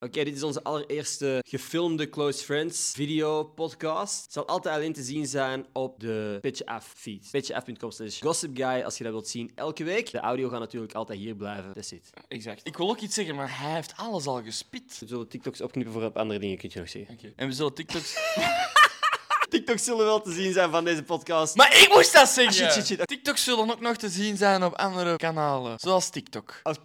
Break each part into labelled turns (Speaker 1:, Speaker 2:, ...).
Speaker 1: Oké, dit is onze allereerste gefilmde Close Friends video podcast. Het zal altijd alleen te zien zijn op de Pitch F feed. Pitchaf.com slash gossipguy als je dat wilt zien elke week. De audio gaat natuurlijk altijd hier blijven. That's it.
Speaker 2: Exact. Ik wil ook iets zeggen, maar hij heeft alles al gespit.
Speaker 1: We zullen TikToks opknippen voor op andere dingen, kun je nog zien.
Speaker 2: En we zullen TikToks.
Speaker 1: TikToks zullen wel te zien zijn van deze podcast.
Speaker 2: maar ik moest dat zeggen!
Speaker 1: Ah, shit, shit, shit.
Speaker 2: TikToks zullen ook nog te zien zijn op andere kanalen, zoals TikTok.
Speaker 1: Als-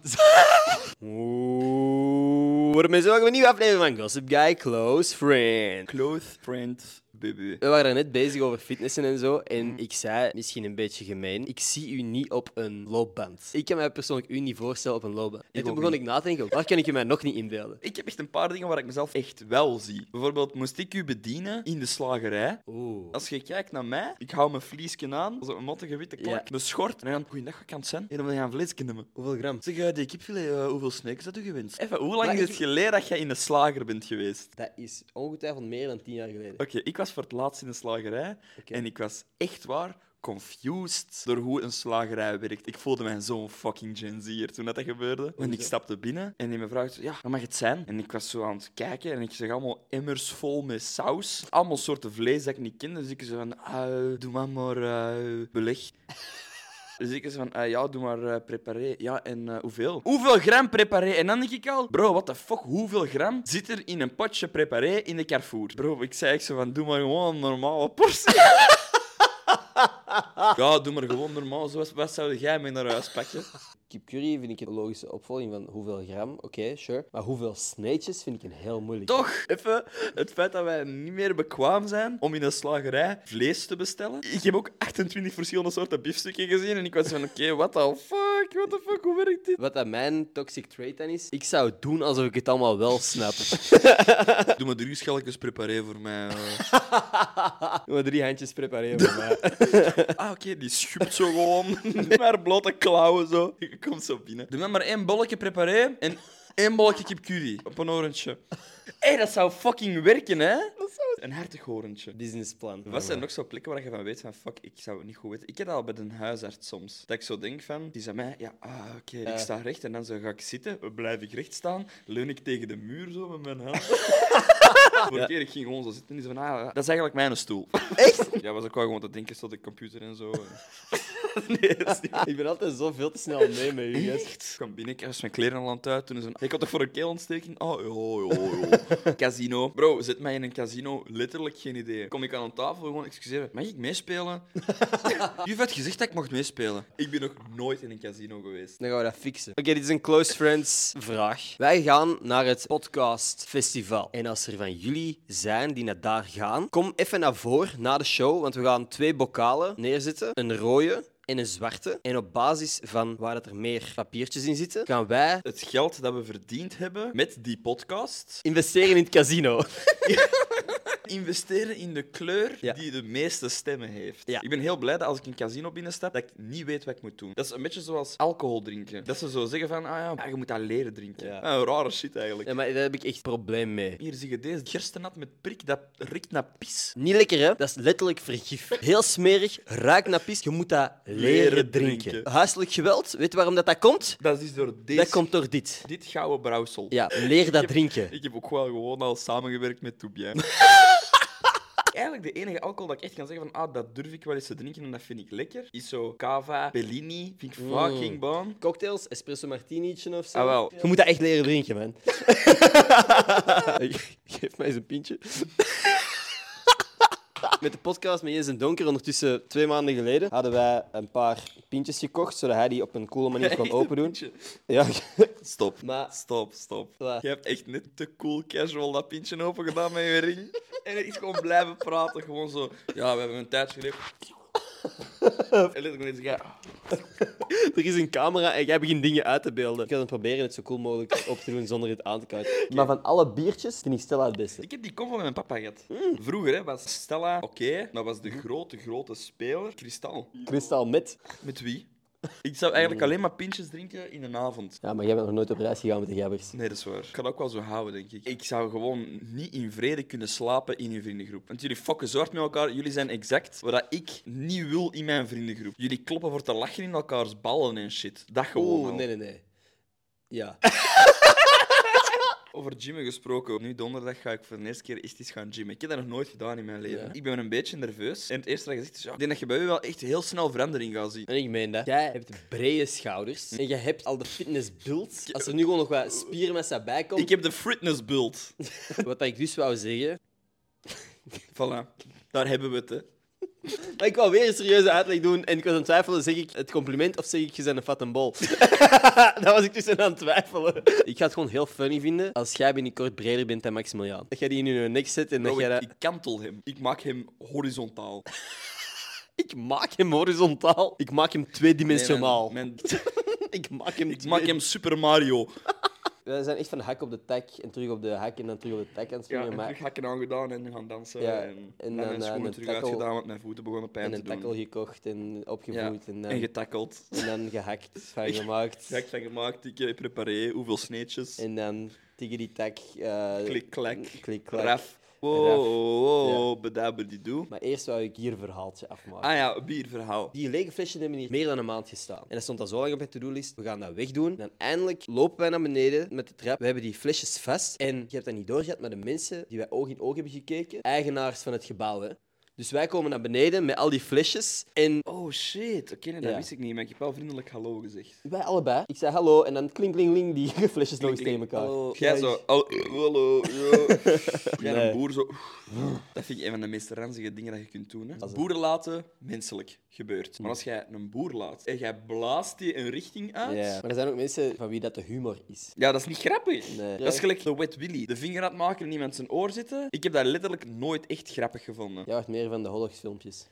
Speaker 1: Oeh, Daarmee zo we een nieuwe aflevering van Gossip Guy Close Friend.
Speaker 3: Close friend, baby.
Speaker 1: We waren net bezig over fitnessen en zo. En ik zei, misschien een beetje gemeen, ik zie u niet op een loopband. Ik kan mij persoonlijk u niet voorstellen op een loopband. En toen
Speaker 3: ook
Speaker 1: begon
Speaker 3: niet.
Speaker 1: ik na te denken, waar kan ik u mij nog niet inbeelden?
Speaker 3: Ik heb echt een paar dingen waar ik mezelf echt wel zie. Bijvoorbeeld, moest ik u bedienen in de slagerij?
Speaker 1: Oeh.
Speaker 3: Als je kijkt naar mij, ik hou mijn vliesje aan, zo'n mottige witte klak,
Speaker 1: Ja.
Speaker 3: mijn schort. En dan, goeiedag, wat kan het zijn? En dan gaan vleesje nemen.
Speaker 1: Hoeveel gram?
Speaker 3: Zeg, eh, die kipfilet, eh, hoeveel snacks had u gewenst? Even, hoe lang
Speaker 1: Maar
Speaker 3: is
Speaker 1: ik-
Speaker 3: het geleden dat jij in de slager bent geweest?
Speaker 1: Dat is ongetwijfeld meer dan tien jaar geleden.
Speaker 3: Oké, ik was voor het laatst in een slagerij
Speaker 1: Oké.
Speaker 3: en ik was echt waar confused door hoe een slagerij werkt. Ik voelde mij zo'n fucking Gen Z'er toen dat, dat gebeurde. Want ik
Speaker 1: Hoezo?
Speaker 3: stapte binnen en die mevrouw zei, ja, wat mag het zijn? En ik was zo aan het kijken en ik zag allemaal emmers vol met saus. Allemaal soorten vlees dat ik niet kende. Dus ik zei van, "Au, doe maar maar eh, beleg. Dus ik zei van, eh, ja, doe maar eh, preparé. Ja, en eh, hoeveel? Hoeveel gram preparé? En dan denk ik al, bro, what the fuck, hoeveel gram zit er in een potje preparé in de Carrefour? Bro, ik zei echt zo van, doe maar gewoon een normale portie. ja, doe maar gewoon normaal. Zoals, wat zou jij mee naar huis pakken?
Speaker 1: Kipcurry vind ik een logische opvolging van hoeveel gram, oké, sure. Maar hoeveel sneetjes vind ik een heel moeilijk.
Speaker 3: Toch, even het feit dat wij niet meer bekwaam zijn om in een slagerij vlees te bestellen. Ik heb ook 28 verschillende soorten biefstukken gezien en ik was van, oké, what the fuck, what the fuck, hoe werkt dit?
Speaker 1: Wat dat mijn toxic trait dan is, ik zou doen alsof ik het allemaal wel snap.
Speaker 3: Doe maar drie schelkjes preparé voor mij. eh.
Speaker 1: Doe maar drie handjes prepareren voor mij.
Speaker 3: Ah, oké, die schupt zo gewoon met haar blote klauwen zo. Je komt zo binnen. Doe mij maar één bolletje preparé en één bolletje kipcurry op een orentje. Hé, dat zou fucking werken, hè? Een hartig orentje.
Speaker 1: Businessplan.
Speaker 3: Wat zijn nog zo plekken waar je van weet van fuck, ik zou het niet goed weten. Ik heb dat al bij een huisarts soms. Dat ik zo denk van, die zei mij, ja, ah, oké, ik sta recht en dan zo ga ik zitten, blijf ik recht staan, leun ik tegen de muur zo met mijn hand. Vorige keer ik ging gewoon zo zitten en die zei van, ah, dat is eigenlijk mijn stoel.
Speaker 1: Echt?
Speaker 3: Ja, was ook wel gewoon te denken, tot de computer en zo.
Speaker 1: Nee, dat is niet waar. Ik ben altijd zo veel te snel mee met u, gast.
Speaker 3: Ik kwam binnen, ik was mijn kleren al aan het uit. Toen is een... Ik had toch voor een keelontsteking? Oh, ja, ja, ja. casino. Bro, zet mij in een casino. Letterlijk geen idee. Kom ik aan een tafel, gewoon, excuseer me, mag ik meespelen? Juf had gezegd dat ik mocht meespelen. Ik ben nog nooit in een casino geweest.
Speaker 1: Dan gaan we dat fixen. Oké, dit is een close friends vraag. Wij gaan naar het podcast festival. En als er van jullie zijn die naar daar gaan, kom even naar voren na de show, want we gaan twee bokalen neerzetten. Een rode en een zwarte. En op basis van waar dat er meer papiertjes in zitten, gaan wij
Speaker 3: Het geld dat we verdiend hebben met die podcast,
Speaker 1: investeren in het casino.
Speaker 3: investeren in de kleur
Speaker 1: Ja.
Speaker 3: die de meeste stemmen heeft.
Speaker 1: Ja.
Speaker 3: Ik ben heel blij dat als ik een casino binnenstap, dat ik niet weet wat ik moet doen. Dat is een beetje zoals alcohol drinken. Dat ze zo zeggen van, ah ja, ja, je moet dat leren drinken.
Speaker 1: Ja.
Speaker 3: Ah, rare shit eigenlijk.
Speaker 1: Ja, maar daar heb ik echt probleem mee.
Speaker 3: Hier zie je deze gerstenat met prik, dat riekt naar pis.
Speaker 1: Niet lekker, hè? Dat is letterlijk vergif. Heel smerig, ruik naar pis. Je moet dat leren
Speaker 3: Leren
Speaker 1: drinken.
Speaker 3: drinken.
Speaker 1: Huiselijk geweld, weet je waarom dat, dat komt?
Speaker 3: Dat is door deze,
Speaker 1: Dat komt door dit.
Speaker 3: dit gouden brouwsel.
Speaker 1: Ja, leer dat drinken.
Speaker 3: Ik heb ook wel gewoon al samengewerkt met Toubien. Eigenlijk de enige alcohol dat ik echt kan zeggen van ah, dat durf ik wel eens te drinken en dat vind ik lekker, is zo cava, bellini, vind ik
Speaker 1: Mm.
Speaker 3: fucking bon.
Speaker 1: Cocktails, espresso martinietje of zo.
Speaker 3: Ah, wel.
Speaker 1: Je moet dat echt leren drinken, man. Geef mij eens een pintje. Met de podcast met Jens en Donker, ondertussen twee maanden geleden, hadden wij een paar pintjes gekocht, zodat hij die op een coole manier kon open doen. Ja,
Speaker 3: Stop.
Speaker 1: maar
Speaker 3: Stop, stop.
Speaker 1: Wat?
Speaker 3: Je hebt echt net te cool casual dat pintje open gedaan met je ring. En het is gewoon blijven praten. Gewoon zo. Ja, we hebben een tijd geleden. En letterlijk deze guy.
Speaker 1: er is een camera en jij begint dingen uit te beelden. Ik ga dan proberen het zo cool mogelijk op te doen zonder het aan te kaarten. Maar van alle biertjes vind ik Stella het beste.
Speaker 3: Ik heb die kom van mijn papa gehad. Vroeger hè, was Stella oké, maar was de grote, grote speler Kristal.
Speaker 1: Kristal met.
Speaker 3: Met wie? Ik zou eigenlijk alleen maar pintjes drinken in een avond.
Speaker 1: Ja, maar jij bent nog nooit op reis gegaan met de gabbers.
Speaker 3: Nee, dat is waar. Ik kan ook wel zo houden, denk ik. Ik zou gewoon niet in vrede kunnen slapen in uw vriendengroep. Want jullie fokken zo hard met elkaar. Jullie zijn exact wat ik niet wil in mijn vriendengroep. Jullie kloppen voor te lachen in elkaars ballen en shit. Dat gewoon.
Speaker 1: Oeh,
Speaker 3: al.
Speaker 1: nee, nee, nee. Ja.
Speaker 3: Over gymmen gesproken. Nu donderdag ga ik voor de eerste keer echt eens gaan gymmen. Ik heb dat nog nooit gedaan in mijn leven.
Speaker 2: Ja.
Speaker 3: Ik ben een beetje nerveus. En het eerste dat je zegt is, ja, ik denk dat je bij u wel echt heel snel verandering gaat zien.
Speaker 1: En ik meen dat. Jij hebt brede schouders. En jij hebt al de fitness built. Als er nu gewoon nog wat spiermassa bij komt.
Speaker 3: Ik heb de fitness build.
Speaker 1: Wat dat ik dus wou zeggen.
Speaker 3: voilà. Daar hebben we het, hè.
Speaker 1: Maar ik wou weer een serieuze uitleg doen. En ik was aan het twijfelen. Zeg ik het compliment of zeg ik je bent een fatte bol? Daar was ik dus aan het twijfelen. Ik ga het gewoon heel funny vinden. Als jij binnenkort breder bent dan Maximiliaan. Dat jij die in je nek zet en dat
Speaker 3: Bro,
Speaker 1: jij
Speaker 3: ik,
Speaker 1: dat...
Speaker 3: ik kantel hem. Ik maak hem horizontaal.
Speaker 1: Ik maak hem horizontaal. Ik maak hem tweedimensionaal.
Speaker 3: Nee, mijn- mijn-
Speaker 1: Ik maak hem
Speaker 3: ik maak hem Super Mario.
Speaker 1: We zijn echt van hak op de tak en terug op de hak en dan terug op de tak aan het
Speaker 3: Ja,
Speaker 1: springen.
Speaker 3: en
Speaker 1: maar-
Speaker 3: terug hakken aangedaan en gaan dansen.
Speaker 1: Ja,
Speaker 3: en,
Speaker 1: en
Speaker 3: en
Speaker 1: dan,
Speaker 3: mijn
Speaker 1: eh,
Speaker 3: schoenen
Speaker 1: een
Speaker 3: terug
Speaker 1: tackle-
Speaker 3: uitgedaan, want mijn voeten begonnen pijn
Speaker 1: en
Speaker 3: te
Speaker 1: een
Speaker 3: doen.
Speaker 1: takkel gekocht en
Speaker 3: Ja,
Speaker 1: opgevoed en, dan,
Speaker 3: en getackeld.
Speaker 1: en dan gehakt, van gemaakt.
Speaker 3: Gek van gemaakt, ik eh, preparé, hoeveel sneetjes.
Speaker 1: En dan tiggeri tak. eh,
Speaker 3: Klik, klak.
Speaker 1: Klik, klak.
Speaker 3: Raf. Wow,
Speaker 1: Raf.
Speaker 3: wow, bedabededoe.
Speaker 1: Maar eerst wou ik hier een verhaaltje afmaken.
Speaker 3: Ah ja, bierverhaal.
Speaker 1: Die lege flesjes hebben hier meer dan een maand gestaan. En dat stond al zo lang op mijn to-do-list. We gaan dat wegdoen. Dan eindelijk lopen wij naar beneden met de trap. We hebben die flesjes vast. En je hebt dat niet doorgehad, maar de mensen die wij oog in oog hebben gekeken, eigenaars van het gebouw, hè. Dus wij komen naar beneden met al die flesjes. En
Speaker 3: Oh shit, oké, nee, dat
Speaker 1: Ja.
Speaker 3: wist ik niet, maar ik heb wel vriendelijk hallo gezegd.
Speaker 1: Wij allebei. Ik zei hallo en dan kling, kling, kling, die flesjes nog eens tegen
Speaker 3: Klinkt-
Speaker 1: elkaar.
Speaker 3: hallo. Jij zo, al- hallo, yo. Jij
Speaker 1: Nee.
Speaker 3: een boer zo. Dat vind ik een van de meest ranzige dingen dat je kunt doen. Hè.
Speaker 1: Dat is-
Speaker 3: Boeren laten, menselijk, gebeurt. Maar als jij een boer laat en jij blaast die een richting uit...
Speaker 1: Ja. Maar er zijn ook mensen van wie dat de humor is.
Speaker 3: Ja, dat is niet grappig.
Speaker 1: Nee.
Speaker 3: Dat is gelijk de wet Willy. De vinger uitmaken maken en iemand zijn oor zitten. Ik heb dat letterlijk nooit echt grappig gevonden.
Speaker 1: Jij houdt meer van de Hollogsfilmpjes.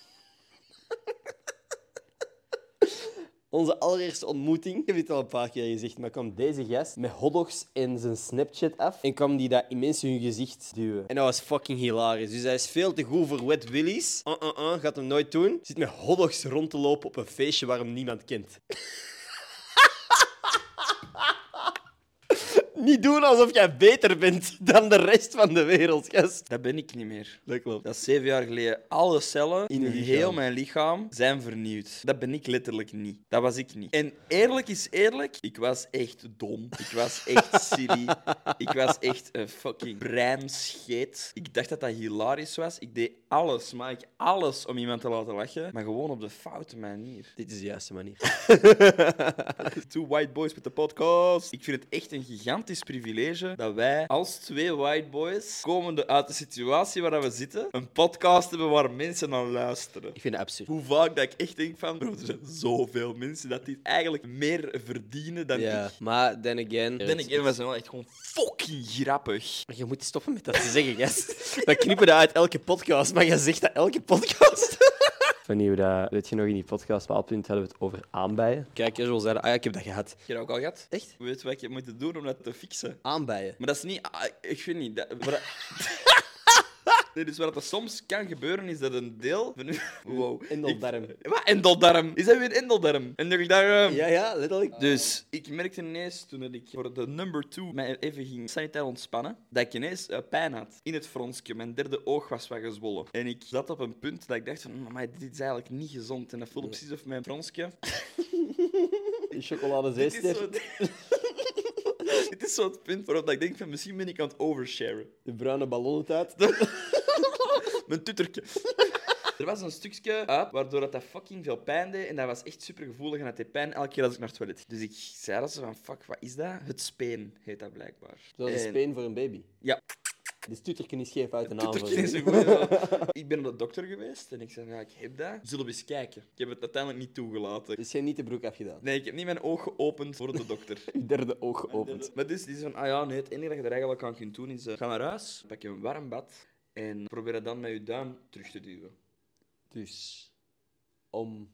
Speaker 1: Onze allereerste ontmoeting, ik heb dit al een paar keer gezegd, maar kwam deze gast met hotdogs en zijn Snapchat af en kwam die dat immens in hun gezicht duwen. En dat was fucking hilarisch. Dus hij is veel te goed voor wet willies. Uh, uh, uh, gaat hem nooit doen. Zit met hotdogs rond te lopen op een feestje waar hem niemand kent. Niet doen alsof jij beter bent dan de rest van de wereld, gast.
Speaker 3: Dat ben ik niet meer.
Speaker 1: Dat klopt.
Speaker 3: Dat is zeven jaar geleden. Alle cellen in
Speaker 1: je lichaam.
Speaker 3: heel mijn lichaam zijn vernieuwd. Dat ben ik letterlijk niet. Dat was ik niet. En eerlijk is eerlijk, ik was echt dom. Ik was echt silly. ik was echt een fucking breinscheet. Ik dacht dat dat hilarisch was. Ik deed alles, maar ik alles om iemand te laten lachen. Maar gewoon op de foute manier.
Speaker 1: Dit is de juiste manier.
Speaker 3: Two white boys met de podcast. Ik vind het echt een gigantisch privilege dat wij als twee white boys, komende uit de situatie waar we zitten, een podcast hebben waar mensen naar luisteren.
Speaker 1: Ik vind het absurd.
Speaker 3: Hoe vaak dat ik echt denk van, bro, er zijn zoveel mensen dat dit eigenlijk meer verdienen dan
Speaker 1: Ja,
Speaker 3: ik.
Speaker 1: maar then again...
Speaker 3: Dan ik, en we zijn wel echt gewoon fucking grappig.
Speaker 1: Je moet stoppen met dat te zeggen, gast. We knippen dat uit elke podcast, maar jij zegt dat elke podcast. Wanneer we dat... Weet je nog, in die podcast, paalpunt, hadden we het over aanbijen. Kijk, casual zeiden, ah ja, ik heb dat gehad.
Speaker 3: Heb je dat ook al gehad?
Speaker 1: Echt?
Speaker 3: Weet wat je moet doen om dat te fixen?
Speaker 1: Aanbijen.
Speaker 3: Maar dat is niet. ah, Ik vind niet. Dat, maar dat- Nee, dus wat er soms kan gebeuren is dat een deel van u. Wow.
Speaker 1: Endeldarm.
Speaker 3: Ik- Wat? Endeldarm? Is dat weer endeldarm? Endeldarm.
Speaker 1: Ja, ja, letterlijk.
Speaker 3: Dus ik merkte ineens toen dat ik voor de number two mij even ging sanitair ontspannen, dat ik ineens eh, pijn had in het fronsje. Mijn derde oog was wat gezwollen. En ik zat op een punt dat ik dacht van, "Mm, maar dit is eigenlijk niet gezond. En dat voelde precies of mijn fronsje
Speaker 1: Een chocoladezeester.
Speaker 3: Dit is zo- Dit is zo het punt waarop ik denk van misschien ben ik aan het oversharen.
Speaker 1: De bruine ballon uit.
Speaker 3: Mijn tutterke. Er was een stukje uit waardoor dat, dat fucking veel pijn deed. En dat was echt super gevoelig en dat deed pijn elke keer als ik naar het toilet ging. Dus ik zei dat ze van fuck, wat is dat? Het speen heet dat blijkbaar.
Speaker 1: Dat is
Speaker 3: En-
Speaker 1: een speen voor een baby.
Speaker 3: Ja.
Speaker 1: De stuterken is scheef uit de naam van
Speaker 3: Tutterke is
Speaker 1: je.
Speaker 3: een goeie. ik ben naar de dokter geweest en ik zei, ja, ik heb dat. Zullen we eens kijken? Ik heb het uiteindelijk niet toegelaten.
Speaker 1: Dus jij niet de broek afgedaan.
Speaker 3: Nee, ik heb niet mijn oog geopend voor de dokter.
Speaker 1: Je derde oog geopend.
Speaker 3: Maar dus, die is van, ah ja, nee, het enige dat je er eigenlijk aan kunt doen is, eh, ga naar huis, pak je een warm bad en probeer dat dan met je duim terug te duwen.
Speaker 1: Dus... Om...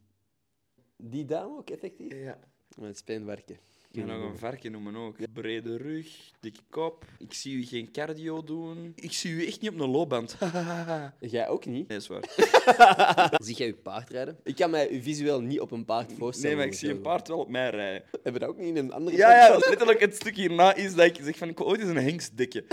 Speaker 1: Die dame ook effectief?
Speaker 3: Ja.
Speaker 1: Met speen werken.
Speaker 3: En nog een varken noemen ook. Brede rug, dikke kop. Ik zie u geen cardio doen. Ik zie u echt niet op een loopband. nee,
Speaker 1: Hmm. Jij ook niet?
Speaker 3: is waar.
Speaker 1: Zie jij je paard rijden? Ik kan mij visueel niet op een paard voorstellen.
Speaker 3: Nee, maar ik zie een paard wel op mij rijden.
Speaker 1: Hebben we dat ook niet in een andere
Speaker 3: Ja, ja,
Speaker 1: podcast?
Speaker 3: letterlijk het stuk hierna is dat ik zeg van, ik wil ooit eens een hengst dikken.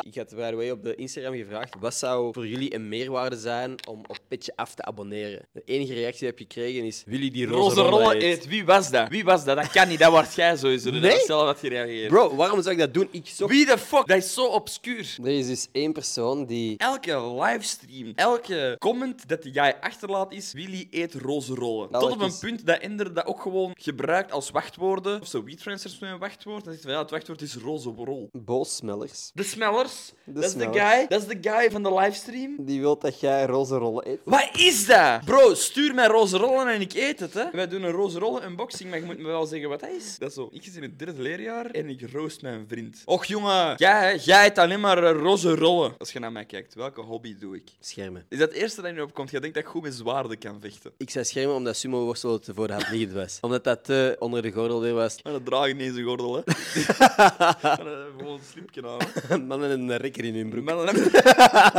Speaker 1: Ik had by the way op de Instagram gevraagd, wat zou voor jullie een meerwaarde zijn om op Petje Af te abonneren? De enige reactie die ik heb gekregen is, Willy die roze, rollen
Speaker 3: Roze rollen
Speaker 1: eet.
Speaker 3: eet. Wie was dat? Wie was dat? Dat kan niet. Dat was jij sowieso.
Speaker 1: Nee?
Speaker 3: Dat is zelf dat gereageerd.
Speaker 1: Bro, waarom zou ik dat doen? Ik zocht...
Speaker 3: Wie de fuck? Dat is zo obscuur.
Speaker 1: Er is dus één persoon die...
Speaker 3: Elke livestream, elke comment dat jij achterlaat is Willy eet roze rollen.
Speaker 1: Nou,
Speaker 3: Tot op
Speaker 1: het
Speaker 3: een
Speaker 1: is-
Speaker 3: punt dat Ender dat ook gewoon gebruikt als wachtwoorden. Of zo WeTransfers met een wachtwoord. Dan zegt van ja, het wachtwoord is roze rol.
Speaker 1: Boosmellers.
Speaker 3: De smellers, dat is de
Speaker 1: Smellers.
Speaker 3: guy, dat is de guy van de livestream.
Speaker 1: Die wil dat jij roze rollen eet.
Speaker 3: Wat is dat? Bro, stuur mij roze rollen en ik eet het, hè. Wij doen een roze rollen unboxing, maar je moet me wel zeggen wat dat is. Dat is zo. Ik zit in het derde leerjaar en ik roost mijn vriend. Och, jongen. Jij, hè, jij eet alleen maar eh, roze rollen. Als je naar mij kijkt, welke hobby doe ik?
Speaker 1: Schermen.
Speaker 3: Is dat het eerste dat in je opkomt? Jij denkt dat ik goed met zwaarden kan vechten.
Speaker 1: Ik zei schermen omdat sumo worstel te voor de hand liggend was. Omdat dat te onder de gordel weer was.
Speaker 3: Maar dat draag ik niet eens een gordel, hè. Maar dat heb ik gewoon een slipje aan.
Speaker 1: Mannen een rekker in hun broek.
Speaker 3: Maar dan heb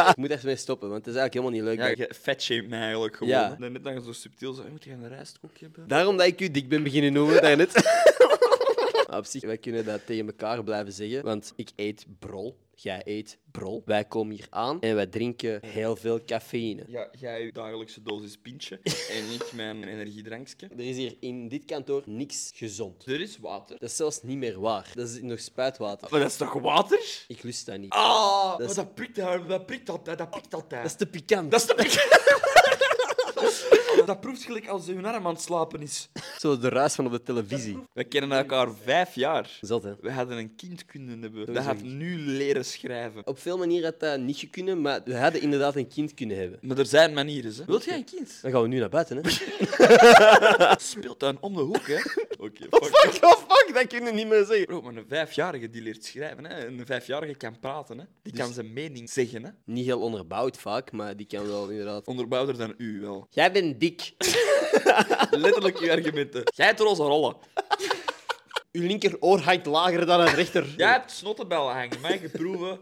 Speaker 1: Ik moet echt mee stoppen, want het is eigenlijk helemaal niet
Speaker 3: Ja,
Speaker 1: leuk.
Speaker 3: je fatshamed mij eigenlijk gewoon.
Speaker 1: Ja.
Speaker 3: Dan net dat je zo subtiel zo, moet je een rijstkoekje hebben?
Speaker 1: Daarom dat ik u dik ben beginnen noemen daarnet. Maar op zich, wij kunnen dat tegen elkaar blijven zeggen. Want ik eet brol, jij eet brol. Wij komen hier aan en wij drinken heel veel cafeïne.
Speaker 3: Ja, jij je dagelijkse dosis pintje en ik mijn energiedrankje.
Speaker 1: Er is hier in dit kantoor niks gezond.
Speaker 3: Er is water.
Speaker 1: Dat is zelfs niet meer waar. Dat is nog spuitwater.
Speaker 3: Maar dat is toch water?
Speaker 1: Ik lust dat niet.
Speaker 3: Ah,
Speaker 1: Dat
Speaker 3: dat,
Speaker 1: is-
Speaker 3: dat prikt daar- dat prikt altijd, dat prikt altijd.
Speaker 1: Dat is te pikant.
Speaker 3: Dat is de- Dat proeft gelijk als hun arm aan het slapen is.
Speaker 1: Zo de ruis van op de televisie.
Speaker 3: We kennen elkaar vijf jaar.
Speaker 1: Zot, hè?
Speaker 3: We hadden een kind kunnen hebben. Dat
Speaker 1: Sowieso
Speaker 3: had nu leren schrijven.
Speaker 1: Op veel manieren had dat niet kunnen, maar we hadden inderdaad een kind kunnen hebben.
Speaker 3: Maar er zijn manieren, hè. Wilt jij een kind?
Speaker 1: Dan gaan we nu naar buiten, hè?
Speaker 3: Speeltuin om de hoek, hè. Oké, fuck.
Speaker 1: Fuck, oh fuck, dat kunnen we niet meer zeggen.
Speaker 3: Bro, maar een vijfjarige die leert schrijven, hè. En een vijfjarige kan praten, hè. Die kan zijn mening zeggen, hè.
Speaker 1: Niet heel onderbouwd vaak, maar die kan wel inderdaad.
Speaker 3: Onderbouwder dan u wel.
Speaker 1: Jij bent dik.
Speaker 3: Letterlijk uw argumenten. Jij hebt roze rollen.
Speaker 1: Uw linkeroor hangt lager dan het rechter.
Speaker 3: Jij hebt snottenbellen hangen, mij geproeven.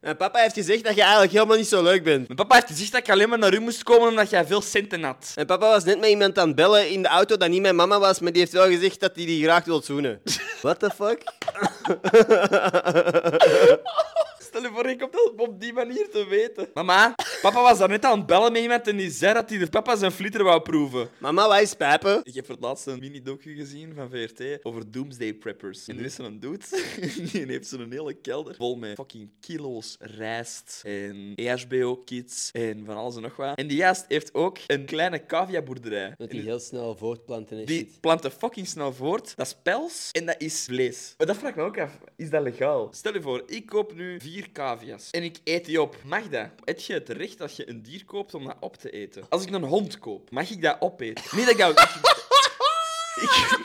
Speaker 1: Mijn papa heeft gezegd dat je eigenlijk helemaal niet zo leuk bent.
Speaker 3: Mijn papa heeft gezegd dat ik alleen maar naar u moest komen omdat jij veel centen had.
Speaker 1: Mijn papa was net met iemand aan het bellen in de auto dat niet mijn mama was, maar die heeft wel gezegd dat hij die graag wil zoenen. What the fuck?
Speaker 3: Stel je voor, ik kom dat op die manier te weten. Mama, papa was daarnet aan het bellen met iemand en die zei dat hij de papa zijn flieter wou proeven.
Speaker 1: Mama, wij spijpen.
Speaker 3: Ik heb voor het laatst een mini-docu gezien van VRT over Doomsday Preppers. En er is een dude, die heeft zo'n hele kelder vol met fucking kilo's rijst en EHBO-kits en van alles en nog wat. En die gast heeft ook een kleine caviaboerderij.
Speaker 1: Dat
Speaker 3: En
Speaker 1: die heel snel voortplanten en
Speaker 3: Die
Speaker 1: shit.
Speaker 3: planten fucking snel voort. Dat is pels en dat is vlees. Maar dat vraag ik me ook af. Is dat legaal? Stel je voor, ik koop nu vier cavia's en ik eet die op. Mag dat? Heb je het recht dat je een dier koopt om dat op te eten? Als ik een hond koop, mag ik dat opeten? Niet dat ik dat... Ik-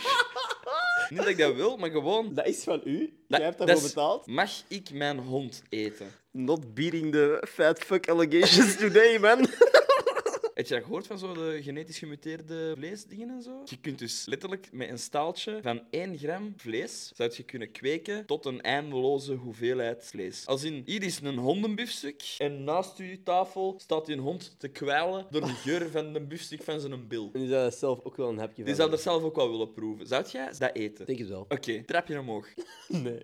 Speaker 3: Niet dat ik dat wil, maar gewoon...
Speaker 1: Dat is van u?
Speaker 3: dat- dat is- Mag ik mijn hond eten?
Speaker 1: Not beating the fat fuck allegations today, man.
Speaker 3: Heb je dat gehoord van zo de genetisch gemuteerde vleesdingen en zo? Je kunt dus letterlijk met een staaltje van 1 gram vlees zou je kunnen kweken tot een eindeloze hoeveelheid vlees. Als in, hier is een hondenbiefstuk en naast je tafel staat een hond te kwijlen door de geur van de biefstuk van zijn bil.
Speaker 1: Die zou dat zelf ook wel een hapje van
Speaker 3: Die zou er
Speaker 1: hebben.
Speaker 3: zelf ook wel willen proeven. Zou jij dat
Speaker 1: Ik
Speaker 3: eten?
Speaker 1: denk het wel.
Speaker 3: Oké, trapje omhoog.
Speaker 1: Nee.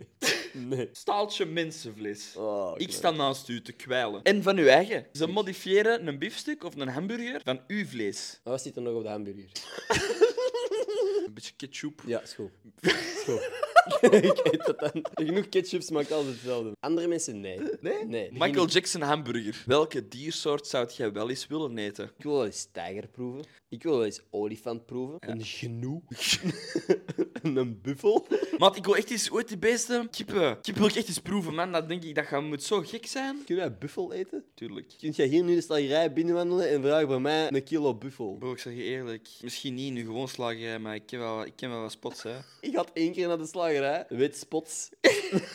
Speaker 1: Nee.
Speaker 3: Staaltje mensenvlees.
Speaker 1: Oh,
Speaker 3: Ik sta naast u te kwijlen. En van uw eigen. Ze modifiëren een biefstuk of een hamburger van uw vlees.
Speaker 1: Wat zit er nog op de hamburger?
Speaker 3: Een beetje ketchup.
Speaker 1: Ja, is goed. Is goed. ik eet dat dan. Genoeg ketchup smaakt altijd hetzelfde. Andere mensen, nee. Nee? Nee.
Speaker 3: Michael Jackson hamburger. Welke diersoort zou jij wel eens willen eten?
Speaker 1: Ik wil wel eens tijger proeven. Ik wil wel eens olifant proeven. Een genoe. een buffel.
Speaker 3: Maat, ik wil echt eens ooit die beesten. Kippen. Kippen wil ik echt eens proeven, man. Dat denk ik, dat gaat, moet zo gek zijn.
Speaker 1: Kun jij buffel eten?
Speaker 3: Tuurlijk.
Speaker 1: Kun jij hier nu de slagerij binnenwandelen en vragen bij mij een kilo buffel?
Speaker 3: Bro, ik zeg je eerlijk. Misschien niet nu gewoon slagen, maar ik ken wel, ik ken wel wat spots, hè.
Speaker 1: Ik had één keer naar de slagerij. Wit spots.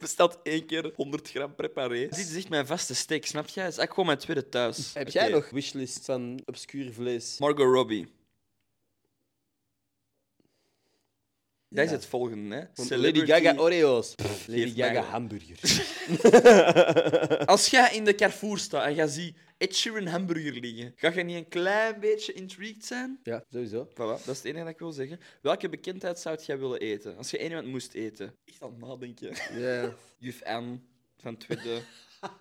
Speaker 3: Bestelt één keer 100 gram preparé. Dit is echt mijn vaste steek, snap jij? Dat is eigenlijk gewoon mijn tweede thuis.
Speaker 1: Heb
Speaker 3: Oké.
Speaker 1: jij nog wishlist van obscuur vlees?
Speaker 3: Margot Robbie. Dat is
Speaker 1: Ja.
Speaker 3: het volgende, hè.
Speaker 1: Want
Speaker 3: Celebrity-
Speaker 1: Lady Gaga Oreos. Lady
Speaker 3: geef mij
Speaker 1: Gaga
Speaker 3: wel.
Speaker 1: hamburgers.
Speaker 3: Als jij in de Carrefour staat en jij ziet Ed Sheeran hamburger liggen, ga je niet een klein beetje intrigued zijn?
Speaker 1: ja, sowieso.
Speaker 3: Voilà, dat is het enige dat ik wil zeggen. Welke bekendheid zou jij willen eten? Als je één iemand moest eten? Echt aan het nadenken.
Speaker 1: Ja.
Speaker 3: Juf Anne Van tweede.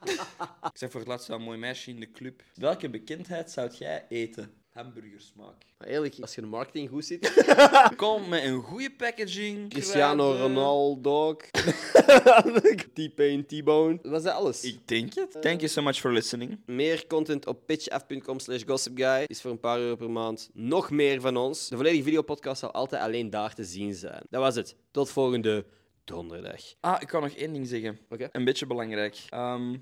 Speaker 3: ik zei voor het laatst een mooi meisje in de club. Welke bekendheid zou jij eten? Hamburgersmaak.
Speaker 1: Maar eerlijk, als je in de marketing goed zit...
Speaker 3: Ah, Kom met een goede packaging.
Speaker 1: Cristiano
Speaker 3: kruiden.
Speaker 1: Ronaldo... T-Pain, T-Bone. Was dat alles?
Speaker 3: Ik denk het. Thank you so much for listening.
Speaker 1: Meer content op pitchf.com slash gossipguy is voor een paar euro per maand nog meer van ons. De volledige videopodcast zal altijd alleen daar te zien zijn. Dat was het. Tot volgende donderdag.
Speaker 3: Ah, ik kan nog één ding zeggen.
Speaker 1: Oké.
Speaker 3: Een beetje belangrijk. Ehm,